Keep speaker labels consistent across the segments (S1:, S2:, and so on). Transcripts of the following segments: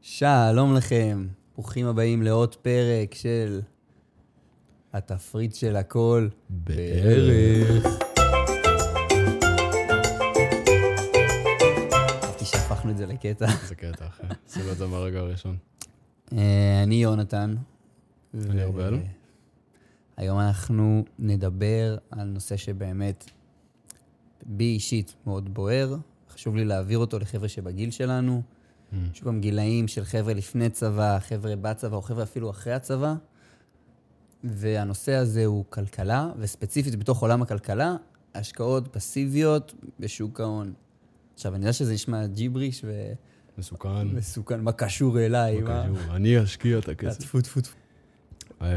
S1: שלום לכם, ברוכים הבאים לעוד פרק של התפריט של הכל בערך. חשבתי שהפכנו את זה לקטע.
S2: זה קטע אחר, עשינו את זה מהרגע הראשון.
S1: אה, אני יונתן. אה,
S2: אני ארבל.
S1: היום אנחנו נדבר על נושא שבאמת בי אישית מאוד בוער. חשוב לי להעביר אותו לחבר'ה שבגיל שלנו.
S2: Mm.
S1: יש גם גילאים של חבר'ה לפני צבא, חבר'ה בצבא, או חבר'ה אפילו אחרי הצבא. והנושא הזה הוא כלכלה, וספציפית בתוך עולם הכלכלה, השקעות פסיביות בשוק ההון. עכשיו, אני יודע שזה נשמע ג'יבריש
S2: מסוכן,
S1: ומסוכן, מה קשור אליי, מה...
S2: בקיצור, אני אשקיע את הכסף.
S1: טפו, טפו, טפו.
S2: אה,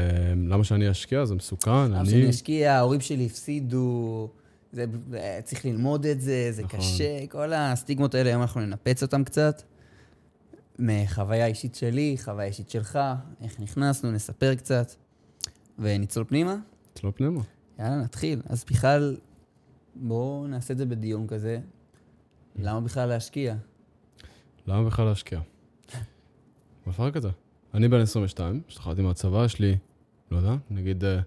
S2: למה שאני אשקיע? זה מסוכן,
S1: אבא שלי
S2: אני...
S1: השקיע, ההורים שלי הפסידו, זה, אה, צריך ללמוד את זה, זה
S2: נכון.
S1: קשה, כל הסטיגמות האלה, היום אנחנו ננפץ אותם קצת. מחוויה אישית שלי, חוויה אישית שלך, איך נכנסנו, נספר קצת, ונצלול פנימה.
S2: אצלו פנימה.
S1: יאללה, נתחיל. אז בכלל, בואו נעשה את זה בדיון כזה. למה בכלל להשקיע?
S2: למה בכלל להשקיע? מפרק את זה. אני בן 22, השתחררתי מהצבא, יש לי, לא יודע, נגיד אה,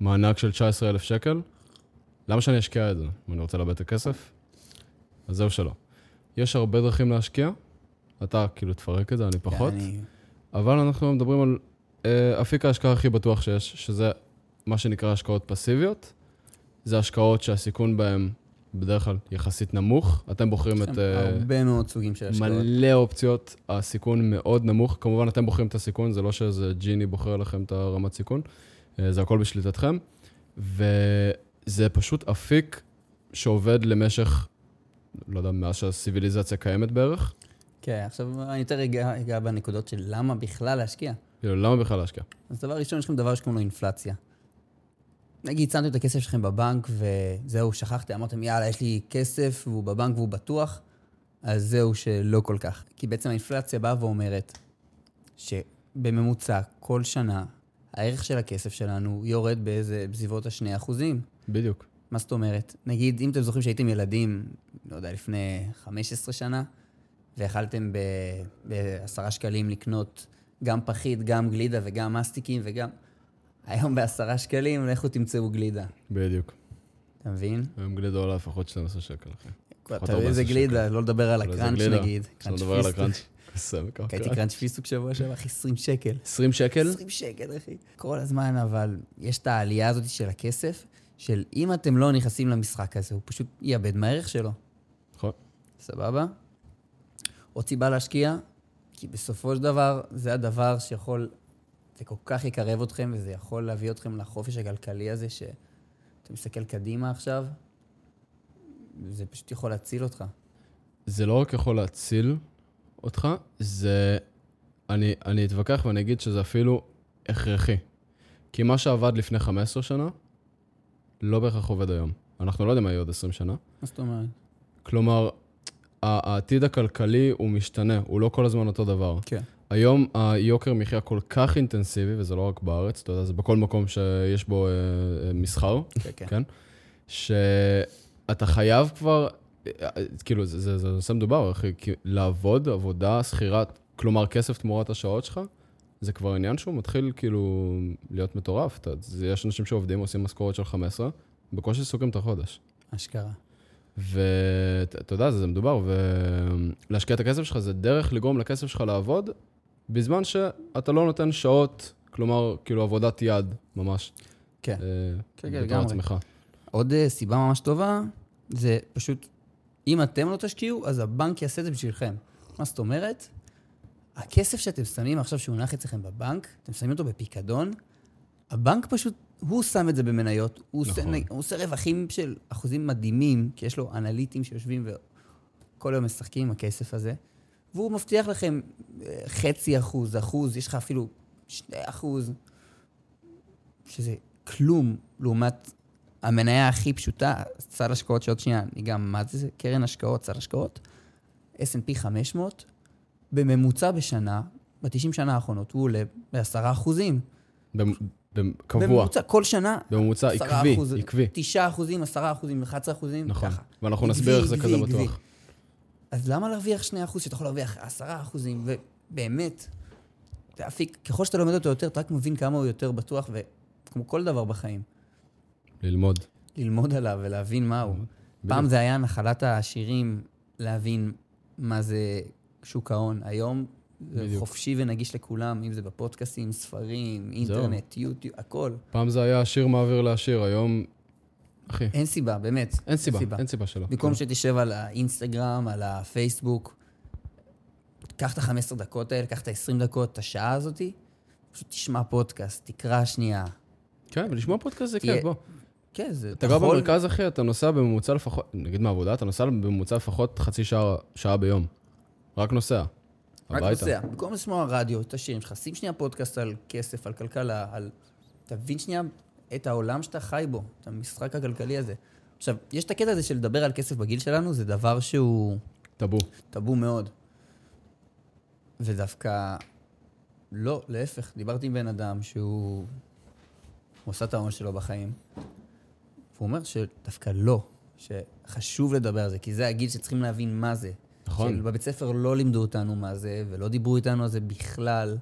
S2: מענק של 19,000 שקל. למה שאני אשקיע את זה? אם אני רוצה לאבד את הכסף? אז זהו שלא. יש הרבה דרכים להשקיע. אתה כאילו תפרק את זה, אני פחות.
S1: כן, אני-
S2: אבל אנחנו מדברים על אה, אפיק ההשקעה הכי בטוח שיש, שזה מה שנקרא השקעות פסיביות. זה השקעות שהסיכון בהן בדרך כלל יחסית נמוך. אתם בוחרים
S1: יש
S2: את...
S1: שם
S2: אה,
S1: כן, הרבה מאוד סוגים של השקעות.
S2: מלא אופציות, הסיכון מאוד נמוך. כמובן, אתם בוחרים את הסיכון, זה לא שאיזה ג'יני בוחר לכם את הרמת סיכון, אה, זה הכל בשליטתכם. וזה פשוט אפיק שעובד למשך, לא יודע, מאז שהסיביליזציה קיימת בערך.
S1: כן, עכשיו אני יותר אגע אגע בנקודות של למה בכלל להשקיע.
S2: כאילו, למה בכלל להשקיע?
S1: אז דבר ראשון, יש לכם דבר שקוראים לו אינפלציה. נגיד, שמתם את הכסף שלכם בבנק, וזהו, שכחתם, אמרתם, יאללה, יש לי כסף, והוא בבנק והוא בטוח, אז זהו שלא כל כך. כי בעצם האינפלציה באה ואומרת שבממוצע, כל שנה, הערך של הכסף שלנו יורד באיזה, בסביבות ה-2 אחוזים.
S2: בדיוק.
S1: מה זאת אומרת? נגיד, אם אתם זוכרים שהייתם ילדים, לא יודע, לפני 15 שנה, ויכלתם ב-10 שקלים לקנות גם פחית, גם גלידה וגם מסטיקים וגם... היום בעשרה שקלים, לכו תמצאו גלידה.
S2: בדיוק.
S1: אתה מבין?
S2: היום גלידה עולה לפחות 12 שקל, אחי. לפחות
S1: אתה יודע איזה
S2: 14
S1: גלידה, לא לדבר על
S2: אבל איזה
S1: הקראנץ'
S2: גלידה.
S1: נגיד.
S2: שלא
S1: קראנץ'
S2: לדבר על
S1: פיסטוק.
S2: הקראנץ'. אוקיי. קוסם,
S1: קניתי קראנץ' פיסטוק שבוע שעבר, אחי, 20 שקל.
S2: 20 שקל?
S1: 20 שקל, אחי. כל הזמן, אבל יש את העלייה הזאת של הכסף, של אם אתם לא נכנסים למשחק הזה, הוא פשוט יאבד מהערך שלו.
S2: נכון.
S1: סבבה? עוד סיבה להשקיע, כי בסופו של דבר, זה הדבר שיכול, זה כל כך יקרב אתכם, וזה יכול להביא אתכם לחופש הכלכלי הזה, שאתה מסתכל קדימה עכשיו, זה פשוט יכול להציל אותך.
S2: זה לא רק יכול להציל אותך, זה... אני, אני אתווכח ואני אגיד שזה אפילו הכרחי. כי מה שעבד לפני 15 שנה, לא בהכרח עובד היום. אנחנו לא יודעים מה יהיה עוד 20 שנה.
S1: מה זאת אומרת?
S2: כלומר, ה- העתיד הכלכלי הוא משתנה, הוא לא כל הזמן אותו דבר.
S1: כן.
S2: היום היוקר מחיה כל כך אינטנסיבי, וזה לא רק בארץ, אתה יודע, זה בכל מקום שיש בו אה, אה, מסחר,
S1: כן, כן.
S2: כן? שאתה חייב כבר, אה, אה, כאילו, זה- זה זה נושא מדובר, אחי, כי לעבוד עבודה, שכירת, כלומר, כסף תמורת השעות שלך, זה כבר עניין שהוא מתחיל כאילו להיות מטורף. אתה- זה- יש אנשים שעובדים, עושים משכורת של 15, בקושי סוגרים את החודש.
S1: אשכרה.
S2: ואתה יודע, זה זה מדובר, ולהשקיע את הכסף שלך זה דרך לגרום לכסף שלך לעבוד, בזמן שאתה לא נותן שעות, כלומר, כאילו עבודת יד, ממש.
S1: כן.
S2: אה,
S1: כן, כן,
S2: בתור
S1: לגמרי.
S2: עצמך.
S1: עוד אה, סיבה ממש טובה, זה פשוט, אם אתם לא תשקיעו, אז הבנק יעשה את זה בשבילכם. מה זאת אומרת? הכסף שאתם שמים עכשיו שהונח אצלכם בבנק, אתם שמים אותו בפיקדון, הבנק פשוט, הוא שם את זה במניות, הוא, נכון.
S2: נכון.
S1: עושה, הוא עושה רווחים של אחוזים מדהימים, כי יש לו אנליטים שיושבים וכל היום משחקים עם הכסף הזה, והוא מבטיח לכם אה, חצי אחוז, אחוז, יש לך אפילו שני אחוז, שזה כלום לעומת המניה הכי פשוטה, סל השקעות שעוד שנייה, אני גם, מה זה? קרן השקעות, סל השקעות, S&P 500, בממוצע בשנה, ב-90 שנה האחרונות, הוא עולה ב-10 אחוזים.
S2: במ- במ- קבוע,
S1: בממוצע, כל שנה,
S2: בממוצע
S1: 10%,
S2: עקבי, עקבי.
S1: 9 אחוזים, 10 אחוזים, 11 אחוזים,
S2: נכון.
S1: ככה.
S2: ואנחנו
S1: עקבי,
S2: נסביר איך זה
S1: עקבי,
S2: כזה
S1: עקבי.
S2: בטוח.
S1: אז למה להרוויח 2 אחוז, שאתה יכול להרוויח 10 אחוזים, באמת, זה אפיק, ככל שאתה לומד אותו יותר, אתה רק מבין כמה הוא יותר בטוח, וכמו כל דבר בחיים,
S2: ללמוד.
S1: ללמוד עליו ולהבין מה הוא. פעם זה היה נחלת העשירים להבין מה זה שוק ההון. היום זה
S2: בדיוק.
S1: חופשי ונגיש לכולם, אם זה בפודקאסים, ספרים, אינטרנט, יוטיוב, הכל.
S2: פעם זה היה עשיר מעביר לעשיר, היום... אחי,
S1: אין סיבה, באמת.
S2: אין סיבה, אין סיבה שלא. כן.
S1: במקום שתשב על האינסטגרם, על הפייסבוק, קח את ה-15 דקות האלה, קח את ה-20 דקות, את השעה הזאתי, פשוט תשמע פודקאסט, תקרא שנייה.
S2: כן, ולשמוע פודקאסט זה
S1: תהיה-
S2: כיף, בוא.
S1: כן, זה...
S2: אתה גר במרכז, אחי, אתה נוסע בממוצע לפחות, נגיד מהעבודה, אתה נוסע בממוצע לפחות חצי שעה, שעה ביום. רק נוסע.
S1: רק
S2: הביתה.
S1: נוסע. במקום לשמוע רדיו, את השירים שלך, שים שנייה פודקאסט על כסף, על כלכלה, על... תבין שנייה את העולם שאתה חי בו, את המשחק הכלכלי הזה. עכשיו, יש את הקטע הזה של לדבר על כסף בגיל שלנו, זה דבר שהוא...
S2: טאבו.
S1: טאבו מאוד. ודווקא, לא, להפך, דיברתי עם בן אדם שהוא הוא עשה את ההון שלו בחיים, והוא אומר שדווקא לא, שחשוב לדבר על זה, כי זה הגיל שצריכים להבין מה זה.
S2: נכון.
S1: שבבית ספר לא לימדו אותנו מה זה, ולא דיברו איתנו על זה בכלל.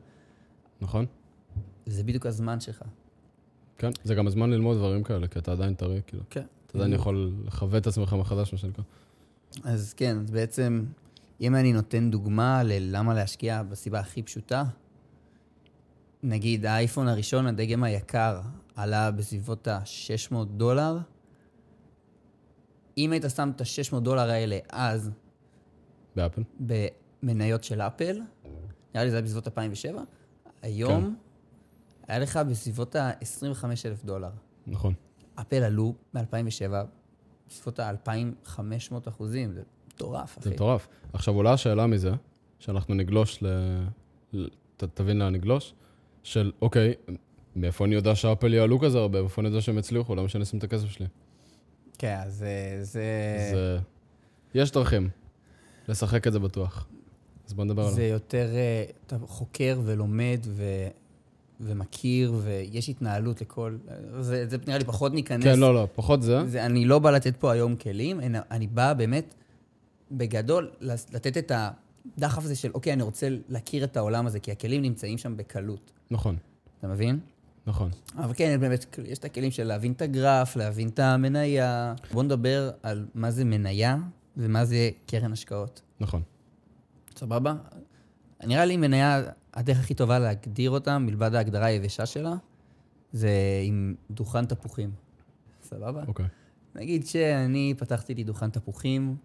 S2: נכון?
S1: זה בדיוק הזמן שלך.
S2: כן. זה גם הזמן ללמוד דברים כאלה, כי אתה עדיין טרי, כאילו.
S1: כן.
S2: אתה עדיין יכול לכוון את עצמך מחדש, מה שנקרא.
S1: אז כן, אז בעצם, אם אני נותן דוגמה ללמה להשקיע בסיבה הכי פשוטה, נגיד האייפון הראשון, הדגם היקר, עלה בסביבות ה-600 דולר. אם היית שם את ה-600 דולר האלה אז
S2: באפל.
S1: במניות של אפל, נראה לי זה היה בסביבות 2007, היום היה לך בסביבות ה-25,000 דולר.
S2: נכון.
S1: אפל עלו מ-2007 בסביבות ה-2,500 אחוזים, זה מטורף,
S2: זה
S1: אחי.
S2: מטורף. עכשיו עולה השאלה מזה, שאנחנו נגלוש ל... ל... ת, תבין לאן נגלוש, של אוקיי, מאיפה אני יודע שאפל יעלו כזה הרבה, מאיפה אני יודע שהם יצליחו, למה שאני אשים את הכסף שלי?
S1: כן, אז אה, זה...
S2: זה... יש דרכים לשחק את זה בטוח. אז בוא נדבר
S1: זה
S2: עליו.
S1: יותר, אה, אתה חוקר ולומד ו, ומכיר, ויש התנהלות לכל... זה, זה נראה לי פחות ניכנס.
S2: כן, לא, לא, פחות זה.
S1: זה, אני לא בא לתת פה היום כלים, אני, אני בא באמת, בגדול, לס- לתת את הדחף הזה של, אוקיי, אני רוצה להכיר את העולם הזה, כי הכלים נמצאים שם בקלות.
S2: נכון,
S1: אתה מבין?
S2: נכון.
S1: אבל כן, באמת, יש את הכלים של להבין את הגרף, להבין את המניה. בואו נדבר על מה זה מניה ומה זה קרן השקעות.
S2: נכון.
S1: סבבה? נראה לי מניה, הדרך הכי טובה להגדיר אותה, מלבד ההגדרה היבשה שלה, זה עם דוכן תפוחים. סבבה?
S2: אוקיי.
S1: נגיד שאני פתחתי לי דוכן תפוחים,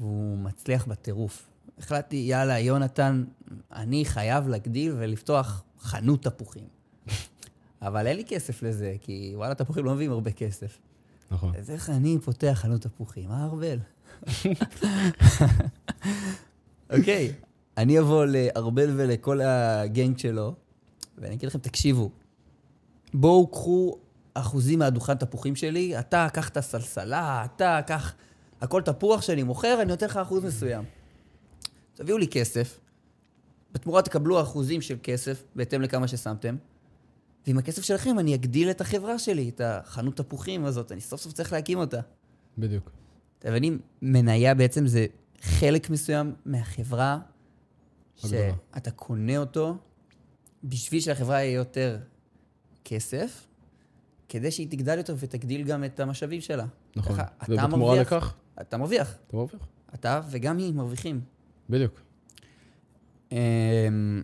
S1: והוא מצליח בטירוף. החלטתי, יאללה, יונתן, אני חייב להגדיל ולפתוח חנות תפוחים. אבל אין לי כסף לזה, כי וואלה, תפוחים לא מביאים הרבה כסף.
S2: נכון.
S1: אז איך אני פותח חנות תפוחים? אה, ארבל? אוקיי, אני אבוא לארבל ולכל הגנג שלו, ואני אגיד לכם, תקשיבו, בואו קחו אחוזים מהדוכן תפוחים שלי, אתה קח את הסלסלה, אתה קח... הכל תפוח שאני מוכר, אני נותן לך אחוז מסוים. תביאו לי כסף, בתמורה תקבלו אחוזים של כסף, בהתאם לכמה ששמתם, ועם הכסף שלכם אני אגדיל את החברה שלי, את החנות תפוחים הזאת, אני סוף סוף צריך להקים אותה.
S2: בדיוק.
S1: אתם מבינים? מניה בעצם זה חלק מסוים מהחברה,
S2: הגדולה.
S1: שאתה קונה אותו בשביל שלחברה יהיה יותר כסף, כדי שהיא תגדל יותר ותגדיל גם את המשאבים שלה.
S2: נכון.
S1: ככה, אתה
S2: ובתמורה
S1: מרוויח,
S2: לכך,
S1: אתה מרוויח.
S2: אתה מרוויח.
S1: אתה וגם היא מרוויחים.
S2: בדיוק.
S1: אמ,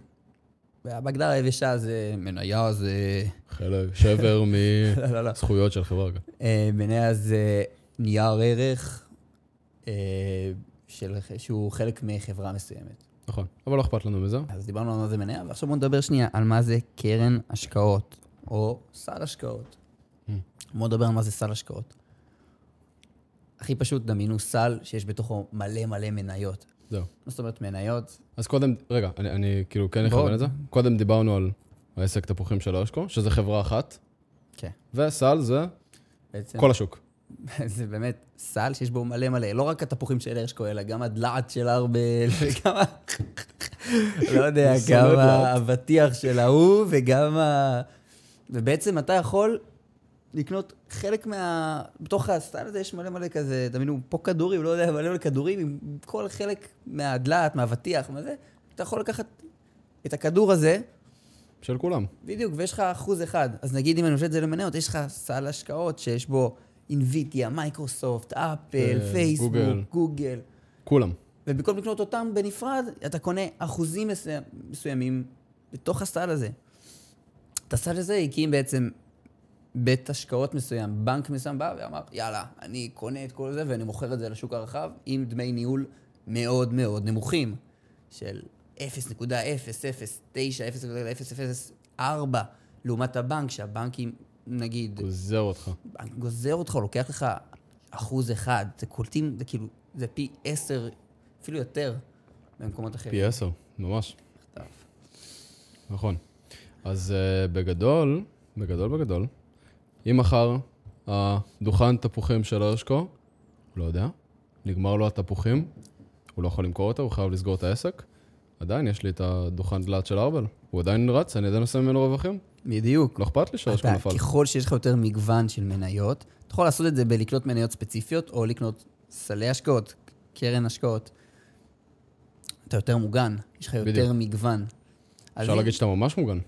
S1: בהגדרה היבשה זה מניה, זה...
S2: חלק, שבר
S1: לא, לא, לא.
S2: מזכויות של חברה. כן. גם.
S1: אה, מניה זה נייר ערך אה, של, שהוא חלק מחברה מסוימת.
S2: נכון. אבל לא אכפת לנו מזה.
S1: אז דיברנו על מה זה מניה, ועכשיו בואו נדבר שנייה על מה זה קרן השקעות, או סל השקעות.
S2: Mm.
S1: בואו נדבר על מה זה סל השקעות. הכי פשוט, דמיינו סל שיש בתוכו מלא מלא מניות.
S2: זהו.
S1: מה זאת אומרת מניות?
S2: אז קודם, רגע, אני, אני כאילו כן
S1: בוא.
S2: אכוון את זה. קודם דיברנו על העסק תפוחים של אשקו, שזה חברה אחת,
S1: כן.
S2: וסל זה
S1: בעצם
S2: כל השוק.
S1: זה באמת סל שיש בו מלא מלא, לא רק התפוחים של הרשקו, אלא גם הדלעת של ארבל, וגם ה... לא יודע,
S2: שונא
S1: גם
S2: דלעת.
S1: האבטיח של ההוא, וגם ה... ובעצם אתה יכול לקנות חלק מה... בתוך הסל הזה יש מלא מלא כזה, תאמינו, פה כדורים, לא יודע, מלא מלא כדורים, עם כל חלק מהדלעת, מהאבטיח, מה זה, אתה יכול לקחת את הכדור הזה,
S2: של כולם.
S1: בדיוק, ויש לך אחוז אחד. אז נגיד אם אני משווה את זה למניות, יש לך סל השקעות שיש בו אינוויטיה, מייקרוסופט, אפל,
S2: אה,
S1: פייסבוק,
S2: גוגל.
S1: גוגל.
S2: כולם.
S1: ובמקום לקנות אותם בנפרד, אתה קונה אחוזים מסוים- מסוימים בתוך הסל הזה. את הסל הזה הקים בעצם בית השקעות מסוים, בנק מסוים בא ואמר, יאללה, אני קונה את כל זה ואני מוכר את זה לשוק הרחב עם דמי ניהול מאוד מאוד נמוכים, של 0.009, 0.004, לעומת הבנק, שהבנקים, נגיד,
S2: גוזר אותך.
S1: הבנק גוזר אותך, הוא לוקח לך אחוז אחד, זה קולטים, זה כאילו, זה פי עשר, אפילו יותר, במקומות אחרים.
S2: פי עשר, ממש.
S1: טוב.
S2: נכון. אז אה, בגדול, בגדול בגדול, אם מחר הדוכן תפוחים של הרשקו, לא יודע, נגמר לו התפוחים, הוא לא יכול למכור אותה, הוא חייב לסגור את העסק, עדיין יש לי את הדוכן דלעת של ארבל, הוא עדיין רץ, אני עדיין עושה ממנו רווחים,
S1: בדיוק.
S2: לא אכפת לי שהרשקו
S1: אתה,
S2: נפל.
S1: ככל שיש לך יותר מגוון של מניות, אתה יכול לעשות את זה בלקנות מניות ספציפיות, או לקנות סלי השקעות, קרן השקעות. אתה יותר מוגן, יש לך יותר
S2: בדיוק.
S1: מגוון. אז
S2: אפשר
S1: אם-
S2: להגיד שאתה ממש מוגן.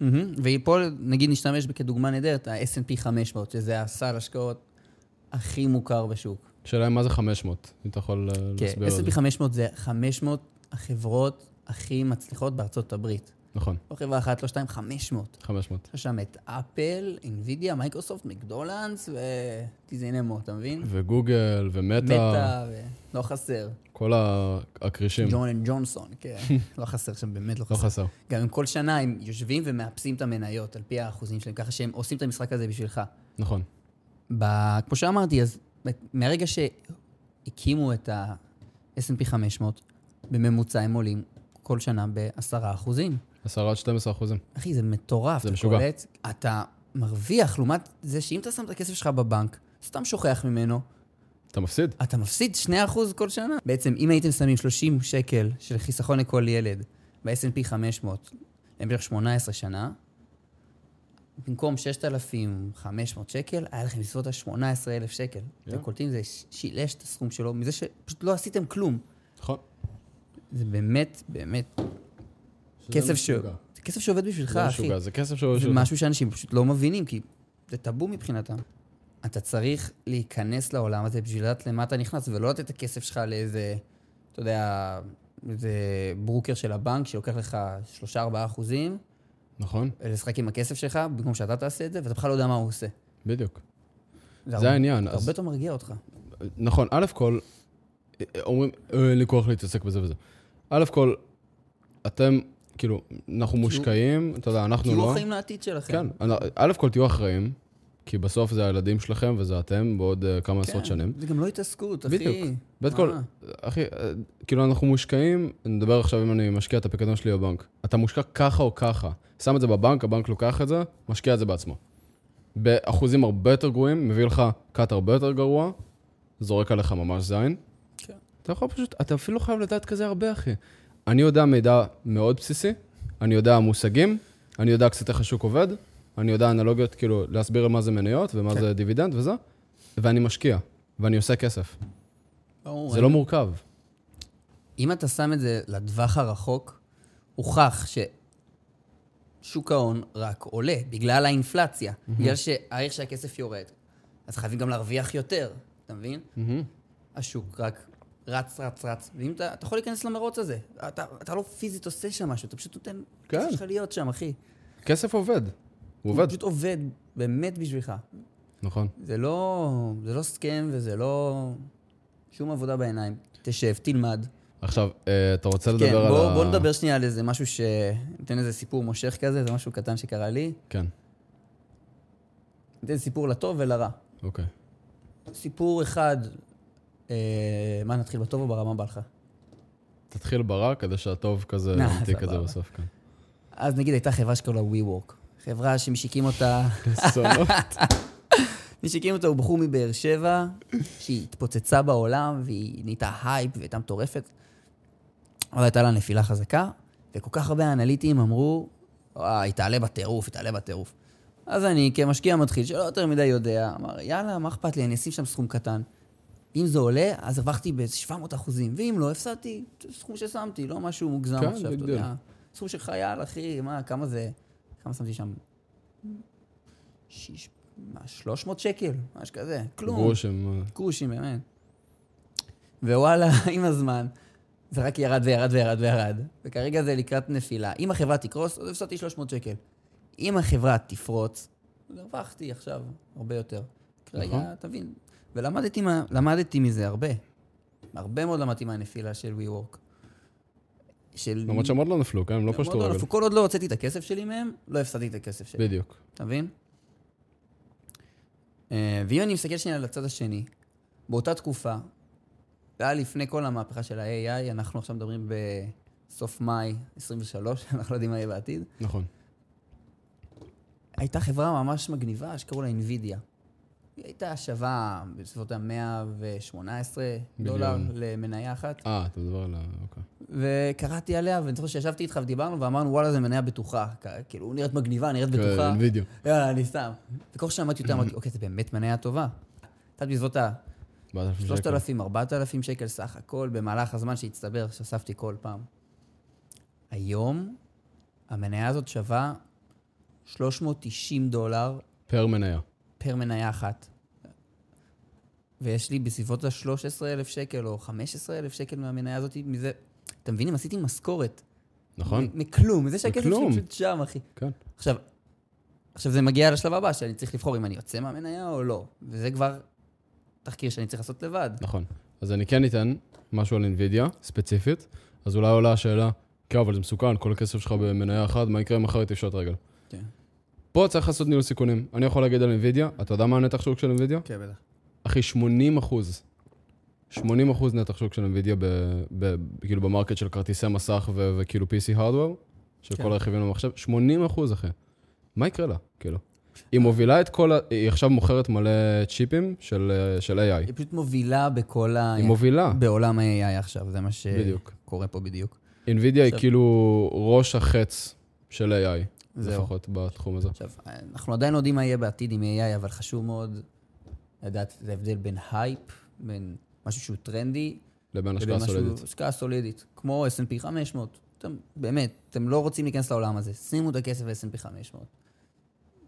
S1: מהמם. ופה נגיד נשתמש כדוגמה נהדרת, ה-S&P 500, שזה הסל השקעות הכי מוכר בשוק.
S2: השאלה היא מה זה 500, אם אתה יכול אה,
S1: כן,
S2: להסביר את
S1: S&P
S2: זה.
S1: 500 זה 500 החברות הכי מצליחות בארצות הברית.
S2: נכון,
S1: לא חברה אחת, לא שתיים, 500.
S2: 500.
S1: יש שם את אפל, אינווידיה, מייקרוסופט, מקדולנס וטיזינמו, אתה מבין?
S2: וגוגל, ומטא,
S1: כן. מטא, ו... לא חסר.
S2: כל ה- הכרישים,
S1: ג'ון אנד ג'ונסון, כן. לא חסר שם, באמת לא
S2: לא
S1: חסר.
S2: חסר.
S1: גם הם כל שנה הם יושבים ומאפסים את המניות על פי האחוזים שלהם, ככה שהם עושים את המשחק הזה בשבילך.
S2: נכון,
S1: ב... כמו שאמרתי, אז מהרגע שהקימו את ה-S&P 500, בממוצע הם עולים כל שנה ב-10 אחוזים.
S2: 10 עד 12 אחוזים.
S1: אחי, זה מטורף.
S2: זה
S1: אתה
S2: משוגע.
S1: קולט, אתה מרוויח, לעומת זה שאם אתה שם את הכסף שלך בבנק, סתם שוכח ממנו,
S2: אתה מפסיד.
S1: אתה מפסיד 2% כל שנה. בעצם, אם הייתם שמים 30 שקל של חיסכון לכל ילד ב-S&P 500 למשך 18 שנה, במקום 6,500 שקל, היה לכם לסביבות ה-18,000 שקל. אתם קולטים, זה ש- שילש את הסכום שלו מזה שפשוט לא עשיתם כלום.
S2: נכון.
S1: זה באמת, באמת,
S2: לא
S1: כסף ש... זה כסף שעובד בשבילך,
S2: זה לא
S1: אחי.
S2: משוגע, זה כסף שהוא...
S1: זה משהו שאנשים פשוט לא מבינים, כי זה טאבו מבחינתם. אתה צריך להיכנס לעולם הזה בשביל לדעת למה אתה נכנס, ולא לתת את הכסף שלך לאיזה, אתה יודע, איזה ברוקר של הבנק שלוקח לך 3-4 אחוזים,
S2: נכון,
S1: לשחק עם הכסף שלך, במקום שאתה תעשה את זה, ואתה בכלל לא יודע מה הוא עושה.
S2: בדיוק.
S1: הרבה-
S2: זה העניין.
S1: זה הרבה
S2: אז-
S1: יותר מרגיע אותך.
S2: נכון, א' כל, אומרים, "אה, אין לי כוח להתעסק בזה וזה. א' כל, אתם, כאילו, אנחנו מושקעים, אתה יודע, אנחנו
S1: תהיו
S2: לא...
S1: אחראים לעתיד שלכם.
S2: כן, אנ- א' כל תהיו אחראים, כי בסוף זה הילדים שלכם וזה אתם בעוד אה, כמה
S1: כן,
S2: עשרות שנים.
S1: זה גם לא התעסקות, אחי.
S2: בדיוק. בית כל,
S1: מה?
S2: אחי, אה, כאילו אנחנו מושקעים, נדבר עכשיו אם אני משקיע את הפיקדון שלי בבנק. אתה מושקע ככה או ככה. שם את זה בבנק, הבנק לוקח את זה, משקיע את זה בעצמו. באחוזים הרבה יותר גרועים, מביא לך קאט הרבה יותר גרוע, זורק עליך ממש זין.
S1: כן.
S2: אתה יכול פשוט, אתה אפילו לא חייב לדעת כזה הרבה, אחי. אני יודע מידע מאוד בסיסי, אני יודע מושגים, אני יודע קצת איך השוק עובד, אני יודע אנלוגיות, כאילו, להסביר על מה זה מניות ומה
S1: כן.
S2: זה דיבידנד וזה, ואני משקיע, ואני עושה כסף.
S1: ברור,
S2: זה לא מורכב.
S1: אם אתה שם את זה לטווח הרחוק, הוכח ששוק ההון רק עולה בגלל האינפלציה, בגלל שהערך של הכסף יורד. אז חייבים גם להרוויח יותר, אתה מבין? השוק רק רץ, רץ, רץ. ואם אתה, אתה יכול להיכנס למרוץ הזה, אתה, אתה לא פיזית עושה שם משהו, אתה פשוט נותן...
S2: כן.
S1: כסף שלך להיות שם, אחי.
S2: כסף עובד. הוא עובד.
S1: הוא פשוט עובד באמת בשבילך.
S2: נכון.
S1: זה לא, זה לא סכם וזה לא שום עבודה בעיניים. תשב, תלמד.
S2: עכשיו, אה, אתה רוצה לדבר
S1: כן,
S2: על
S1: בוא,
S2: ה...
S1: בוא נדבר שנייה על איזה משהו ש... ניתן איזה סיפור מושך כזה, זה משהו קטן שקרה לי.
S2: כן,
S1: ניתן סיפור לטוב ולרע.
S2: אוקיי.
S1: סיפור אחד, אה, מה נתחיל בטוב או ברע, מה בא לך?
S2: תתחיל ברע כדי שהטוב כזה
S1: אה,
S2: ימתיק את זה
S1: סבבה.
S2: בסוף, כן.
S1: אז נגיד הייתה חברה שקוראים לה WeWork. חברה שמשיקים אותה,
S2: סונות.
S1: מי שהקים אותה הוא בחור מבאר שבע, שהיא התפוצצה בעולם, והיא נהייתה הייפ והייתה מטורפת. אבל הייתה לה נפילה חזקה, וכל כך הרבה אנליטים אמרו, אה, היא תעלה בטירוף, היא תעלה בטירוף. אז אני, כמשקיע מתחיל, שלא יותר מדי יודע, אמר, יאללה, מה אכפת לי, אני אשים שם סכום קטן. אם זה עולה, אז הרווחתי ב-700 אחוזים, ואם לא, הפסדתי סכום ששמתי, לא משהו מוגזם
S2: כן,
S1: עכשיו, אתה
S2: בדיוק.
S1: יודע. סכום של חייל, אחי, מה, כמה זה... כמה שמתי שם? שיש... מה, 300 שקל? משהו כזה. כלום.
S2: גרושם,
S1: גרושים, באמת. ווואלה, עם הזמן, זה רק ירד וירד וירד וירד, וכרגע זה לקראת נפילה. אם החברה תקרוס, אז הפסדתי 300 שקל. אם החברה תפרוץ, אז הרווחתי עכשיו הרבה יותר.
S2: נכון.
S1: כרגע, תבין. ולמדתי מה, למדתי מזה הרבה. הרבה מאוד למדתי מהנפילה של WeWork. של...
S2: למרות שהם עוד לא נפלו, כן? הם לא
S1: מאוד
S2: פשטו רגל.
S1: נפלו. כל עוד לא הוצאתי את הכסף שלי מהם, לא הפסדתי את הכסף שלי.
S2: בדיוק.
S1: אתה מבין? אה, ואם אני מסתכל שנייה על הצד השני, באותה תקופה, זה היה לפני כל המהפכה של ה-AI, אנחנו עכשיו מדברים בסוף מאי 23, אנחנו לא יודעים מה יהיה בעתיד,
S2: נכון.
S1: הייתה חברה ממש מגניבה שקראו לה NVIDIA. היא הייתה שווה בסביבות ה-118 דולר
S2: מיליון.
S1: למניה אחת,
S2: אה, אתה מדבר על ה... אוקיי.
S1: וקראתי עליה, ואני זוכר שישבתי איתך ודיברנו, ואמרנו, וואלה, זו מניה בטוחה. כ- כאילו, נראית מגניבה, נראית בטוחה.
S2: כן, וידאו.
S1: יאללה, אני סתם. וכל ששמעתי אותה, אמרתי, אוקיי, זה באמת מניה טובה. קצת בסביבות
S2: בעד אלפים שקל.
S1: ה-3,000, 4,000 שקל סך הכל, במהלך הזמן שהצטבר, שאספתי כל פעם. היום, המניה הזאת שווה 390 דולר
S2: פר מניה.
S1: פר מניה אחת. ויש לי בסביבות ה-13,000 שקל או 15,000 שקל מהמניה הזאת, מזה... אתם מבינים? עשיתי משכורת.
S2: נכון?
S1: מ- מכלום, מזה שהכסף שלי
S2: מכלום.
S1: פשוט שם, אחי.
S2: כן.
S1: עכשיו, עכשיו זה מגיע לשלב הבא, שאני צריך לבחור אם אני יוצא מהמניה או לא. וזה כבר תחקיר שאני צריך לעשות לבד.
S2: נכון. אז אני כן אתן משהו על NVIDIA, ספציפית. אז אולי עולה השאלה, כן, אבל זה מסוכן, כל הכסף שלך במניה אחת, מה יקרה אם מחר היא תפשוט רגל?
S1: כן.
S2: פה צריך לעשות ניהול סיכונים. אני יכול להגיד על NVIDIA, אתה יודע מה הנתח שוק של NVIDIA?
S1: כן, בטח.
S2: אחי, 80 אחוז. 80 אחוז נתח שוק של NVIDIA, ב, ב, כאילו במרקט של כרטיסי מסך ו, וכאילו PC hardware, של
S1: כן.
S2: כל הרכיבים למחשב, 80 אחוז, אחי. מה יקרה לה, כאילו? היא מובילה את כל ה... היא עכשיו מוכרת מלא צ'יפים של, אה, של AI.
S1: היא פשוט מובילה בכל ה...
S2: היא מובילה,
S1: בעולם ה-AI עכשיו, זה מה
S2: בדיוק.
S1: שקורה פה בדיוק.
S2: NVIDIA היא
S1: עכשיו-
S2: כאילו ראש החץ של AI,
S1: זהו.
S2: לפחות בתחום הזה.
S1: עכשיו, אנחנו עדיין לא יודעים מה יהיה בעתיד עם AI, אבל חשוב מאוד לדעת, זה ההבדל בין הייפ, בין משהו שהוא טרנדי,
S2: לבין
S1: לבין
S2: השקעה סולידית.
S1: משהו, השקעה סולידית, כמו S&P 500. אתם, באמת, אתם לא רוצים להיכנס לעולם הזה, שימו את הכסף ב-S&P 500.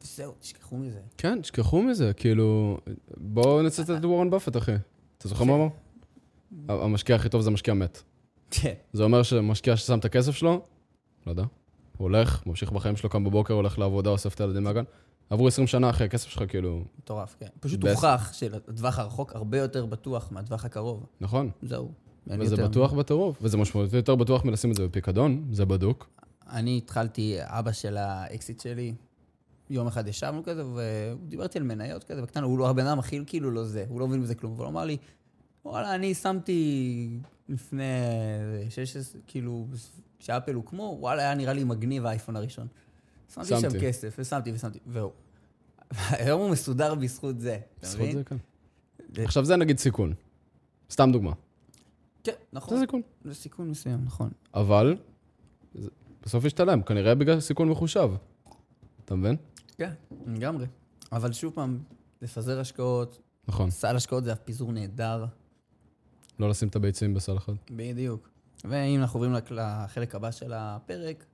S1: זהו, תשכחו מזה.
S2: כן, תשכחו מזה, כאילו... בואו נצטט את וורן באפט, אחי. אתה זוכר מה אמר? ה- המשקיע הכי טוב זה משקיע מת.
S1: כן.
S2: זה אומר שמשקיע ששם את הכסף שלו, לא יודע, הוא הולך, ממשיך בחיים שלו, קם בבוקר, הולך לעבודה, אוסף את הילדים מהגן. עברו 20 שנה אחרי, הכסף שלך כאילו,
S1: מטורף, כן. פשוט
S2: בעצם-
S1: הוכח שהטווח הרחוק הרבה יותר בטוח מהטווח הקרוב.
S2: נכון.
S1: זהו. אין
S2: וזה
S1: יותר.
S2: בטוח בטירוף, וזה משמעותי יותר בטוח מלשים את זה בפיקדון, זה בדוק.
S1: אני התחלתי, אבא של האקסיט שלי, יום אחד ישבנו כזה, ודיברתי על מניות כזה בקטנה, הוא לא, הבן אדם הכי כאילו לא זה, הוא לא מבין בזה כלום, אבל הוא אמר לי, וואלה, אני שמתי לפני 16, כאילו, כשאפל הוקמו, וואלה, היה נראה לי מגניב האייפון הראשון. שמתי שם
S2: שמתי.
S1: כסף, ושמתי ושמתי, והוא. היום הוא מסודר בזכות זה, אתה
S2: בזכות
S1: מבין?
S2: זה, כן.
S1: זה-
S2: עכשיו זה נגיד סיכון. סתם דוגמה.
S1: כן,
S2: זה
S1: נכון.
S2: סיכון.
S1: זה סיכון מסוים, נכון.
S2: אבל, זה- בסוף ישתלם, כנראה בגלל סיכון מחושב. אתה מבין?
S1: כן, לגמרי. אבל שוב פעם, לפזר השקעות,
S2: נכון.
S1: סל השקעות זה הפיזור נהדר.
S2: לא לשים את הביצים בסל אחד.
S1: בדיוק. ואם אנחנו עוברים לק- לחלק הבא של הפרק,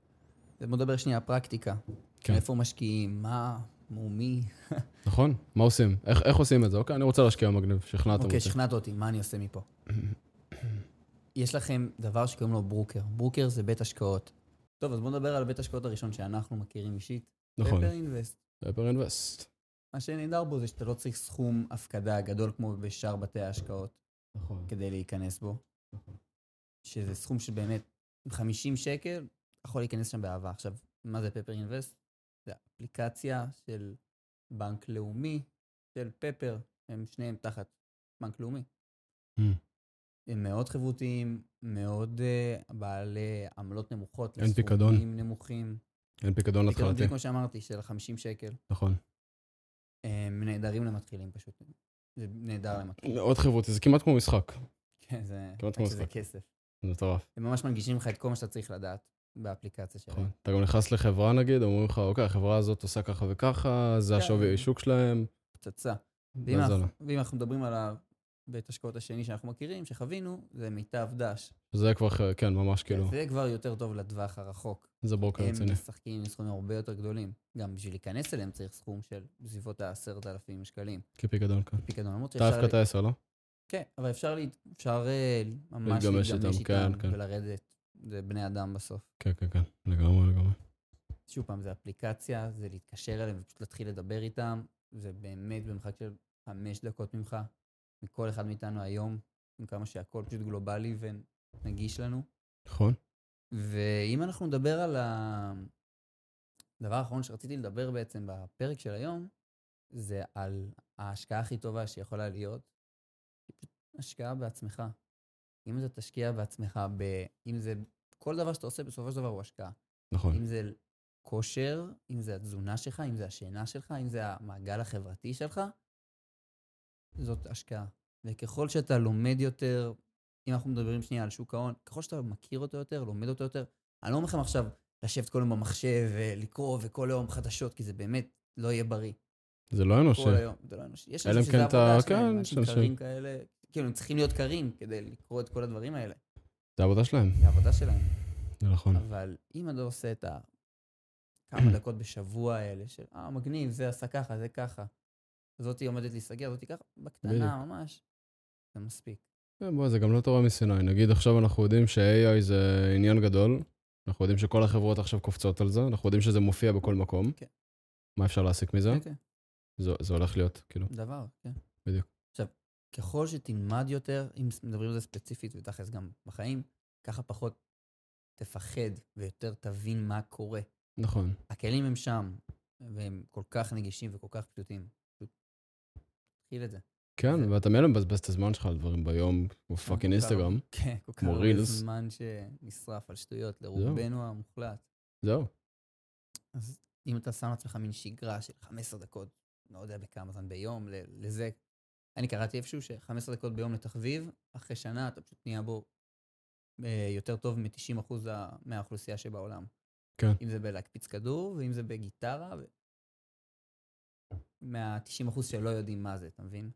S1: אז בוא נדבר שנייה על פרקטיקה.
S2: כן.
S1: כן. איפה משקיעים, מה, מו מי.
S2: נכון? מה עושים? איך, איך עושים את זה? אוקיי, אני רוצה להשקיע מגניב, שכנעתם
S1: אוקיי,
S2: אותי.
S1: שכנעת אותי, מה אני עושה מפה? יש לכם דבר שקוראים לו ברוקר. ברוקר זה בית השקעות. טוב, אז בואו נדבר על בית השקעות הראשון שאנחנו מכירים אישית.
S2: נכון.
S1: פפר אינבסט.
S2: פפר אינבסט.
S1: מה שנהדר בו זה שאתה לא צריך סכום הפקדה גדול כמו בשאר בתי ההשקעות.
S2: נכון.
S1: כדי להיכנס בו.
S2: אוקיי.
S1: שזה סכום שבאמת, עם 50 שקל, אתה יכול להיכנס שם באהבה. עכשיו, מה זה פפר אינבסט? זה אפליקציה של בנק לאומי, של פפר, הם שניהם תחת בנק לאומי.
S2: Mm.
S1: הם מאוד חברותיים, מאוד uh, בעלי עמלות נמוכות.
S2: אין פיקדון.
S1: לסכומים נמוכים.
S2: אין פיקדון
S1: פיקדון,
S2: התחלתי.
S1: בדיוק כמו שאמרתי, של 50 שקל.
S2: נכון.
S1: הם נהדרים למתחילים פשוט. זה נהדר למתחילים.
S2: מאוד חברותי, זה כמעט כמו משחק.
S1: כן, זה...
S2: אה. כמעט כמו
S1: רק שזה
S2: משחק.
S1: כסף.
S2: זה מטורף.
S1: הם ממש מנגישים לך את כל מה שאתה צריך לדעת באפליקציה שלהם.
S2: נכון. אתה גם נכנס לחברה נגיד, אומרים לך, אוקיי, החברה הזאת עושה ככה וככה, זה
S1: כן.
S2: השווי שוק שלהם. לא.
S1: פצצה. ואם
S2: ואז
S1: אנחנו-
S2: עלה.
S1: ואם אנחנו מדברים על בית השקעות השני שאנחנו מכירים, שחווינו, זה מיטב דש.
S2: זה כבר, אחר- כן, ממש כאילו,
S1: זה כבר יותר טוב לטווח הרחוק.
S2: זה ברוקר
S1: הם
S2: רציני.
S1: משחקים עם סכומים הרבה יותר גדולים. גם בשביל להיכנס אליהם צריך סכום של בסביבות ה-10,000 שקלים.
S2: כפיקדון, כן.
S1: פיקדון, למרות
S2: אתה
S1: שאפשר...
S2: דווקא את
S1: ל-
S2: העשר, לא?
S1: כן, אבל אפשר, לה... אפשר אה, ממש
S2: להתגמש
S1: להתגמש
S2: איתם,
S1: איתם,
S2: כן, כן.
S1: ולרדת. זה בני אדם בסוף.
S2: כן, כן, כן, לגמרי, לגמרי.
S1: שוב פעם, זה אפליקציה, זה להתקשר אליהם ופשוט להתחיל לדבר איתם. זה באמת במרחק של חמש דקות ממך, מכל אחד מאיתנו היום, עם כמה שהכל פשוט גלובלי ונגיש לנו.
S2: נכון?
S1: ואם אנחנו נדבר על הדבר האחרון שרציתי לדבר בעצם בפרק של היום, זה על ההשקעה הכי טובה שיכולה להיות, היא פשוט השקעה בעצמך. אם אתה תשקיע בעצמך, ב... אם זה... כל דבר שאתה עושה בסופו של דבר הוא השקעה.
S2: נכון.
S1: אם זה כושר, אם זה התזונה שלך, אם זה השינה שלך, אם זה המעגל החברתי שלך, זאת השקעה. וככל שאתה לומד יותר, אם אנחנו מדברים שנייה על שוק ההון, ככל שאתה מכיר אותו יותר, לומד אותו יותר, אני לא אומר לכם עכשיו לשבת כל יום במחשב ולקרוא וכל יום חדשות, כי זה באמת לא יהיה בריא.
S2: זה לא אנושי.
S1: כל היום, זה לא אנושי. יש
S2: אלא
S1: אנשים
S2: אם כן
S1: שזה
S2: אתה-
S1: העבודה
S2: כן,
S1: שלהם, אנשים
S2: יש אנשים-
S1: קרים כאלה, כאילו הם צריכים להיות קרים כדי לקרוא את כל הדברים האלה.
S2: זה העבודה שלהם.
S1: זה העבודה שלהם.
S2: זה נכון.
S1: אבל אם אתה עושה את ה... כמה דקות בשבוע האלה של, אה, מגניב, זה עשה ככה, זה ככה. זאתי עומדת להיסגר, זאתי ככה, בקטנה, ממש. זה מספיק.
S2: כן, בוא, זה גם לא תורה מסיני. נגיד עכשיו אנחנו יודעים ש-AI זה עניין גדול, אנחנו יודעים שכל החברות עכשיו קופצות על זה, אנחנו יודעים שזה מופיע בכל מקום.
S1: כן.
S2: מה אפשר להסיק מזה?
S1: כן, כן,
S2: זה זה הולך להיות, כאילו.
S1: דבר, כן.
S2: בדיוק.
S1: עכשיו, ככל שתלמד יותר, אם מדברים על זה ספציפית ותכלס גם בחיים, ככה פחות תפחד ויותר תבין מה קורה.
S2: נכון.
S1: הכלים הם שם, והם כל כך נגישים וכל כך פשוטים. פשוט תתחיל את זה.
S2: כן,
S1: זה-
S2: ואתה מילא מבזבז את הזמן שלך על דברים ביום, כמו פאקינג
S1: כל כך-
S2: אינסטגרם.
S1: כן, כל כך
S2: כמו
S1: הרבה
S2: רילס.
S1: זמן שנשרף על שטויות, לרובנו המוחלט.
S2: זהו.
S1: אז אם אתה שם לעצמך מין שגרה של 15 דקות, לא יודע בכמה זמן ביום, ל- לזה. אני קראתי איפשהו ש-15 דקות ביום לתחביב, אחרי שנה אתה פשוט נהיה בו אה, יותר טוב מ-90% מהאוכלוסייה שבעולם.
S2: כן.
S1: אם זה בלהקפיץ כדור, ואם זה בגיטרה, ו... מה-90% שלא יודעים מה זה, אתה מבין?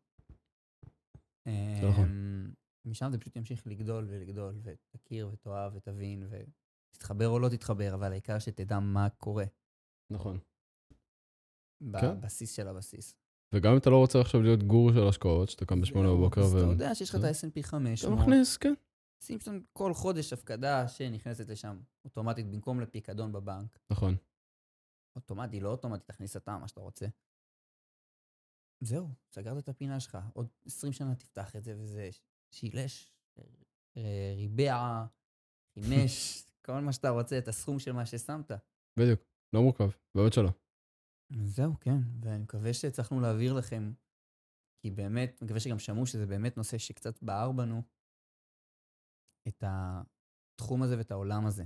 S2: זה נכון.
S1: אמ, משם זה פשוט ימשיך לגדול ולגדול, ותכיר ותאהב ותבין, ותתחבר או לא תתחבר, אבל העיקר שתדע מה קורה.
S2: נכון. כן.
S1: בבסיס של הבסיס.
S2: וגם אם אתה לא רוצה עכשיו להיות גורו של השקעות, שאתה קם בשמונה
S1: זהו,
S2: בבוקר
S1: אז
S2: ו... כן.
S1: אתה יודע שיש לך את
S2: זהו.
S1: ה-S&P
S2: אתה
S1: 500,
S2: מכניס, כן.
S1: שים שם כל חודש הפקדה שנכנסת לשם אוטומטית במקום לפיקדון בבנק.
S2: נכון.
S1: אוטומטי, לא אוטומטי, תכניס אתה מה שאתה רוצה. זהו, סגרת את הפינה שלך. עוד 20 שנה תפתח את זה וזה שילש, אה, ריבע, חימש, כל מה שאתה רוצה, את הסכום של מה ששמת.
S2: בדיוק. לא מורכב. באמת שלא.
S1: זהו, כן, ואני מקווה שהצלחנו להעביר לכם, כי באמת, אני מקווה שגם שמעו שזה באמת נושא שקצת בער בנו, את התחום הזה ואת העולם הזה.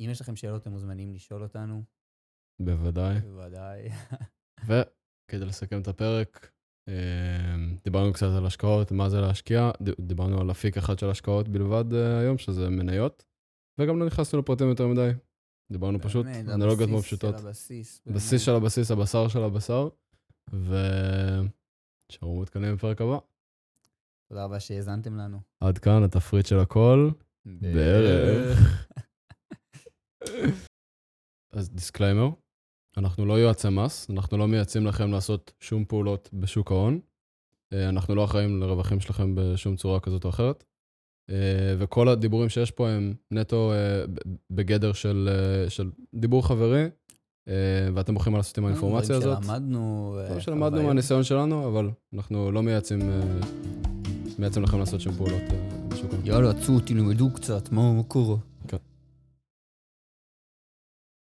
S1: אם יש לכם שאלות, אתם מוזמנים לשאול אותנו,
S2: בוודאי.
S1: בוודאי.
S2: וכדי לסכם את הפרק, אה, דיברנו קצת על השקעות, מה זה להשקיע, ד- דיברנו על אפיק אחד של השקעות בלבד אה, היום, שזה מניות, וגם לא נכנסנו לפרטים יותר מדי. דיברנו פשוט
S1: באמת, הבסיס
S2: אנלוגיות מאוד
S1: של
S2: פשוטות.
S1: הבסיס.
S2: בסיס של הבסיס, הבשר של הבשר, ושארו מעודכנים בפרק הבא.
S1: תודה רבה שהאזנתם לנו.
S2: עד כאן התפריט של הכל. בערך. אז דיסקליימר, אנחנו לא יועצי מס, אנחנו לא מייעצים לכם לעשות שום פעולות בשוק ההון. אה, אנחנו לא אחראים לרווחים שלכם בשום צורה כזאת או אחרת. אה, וכל הדיבורים שיש פה הם נטו אה, ב- בגדר של, אה, של דיבור חברי, אה, ואתם בוחרים מה לעשות עם האינפורמציה הזאת.
S1: דברים שלמדנו.
S2: לא
S1: אה,
S2: שלמדנו
S1: חוויות.
S2: מהניסיון שלנו, אבל אנחנו לא מייעצים, אה, מייעצים לכם לעשות שום פעולות אה, בשוק ההון.
S1: יאללה, צאו, תלמדו קצת, מה מה קורה?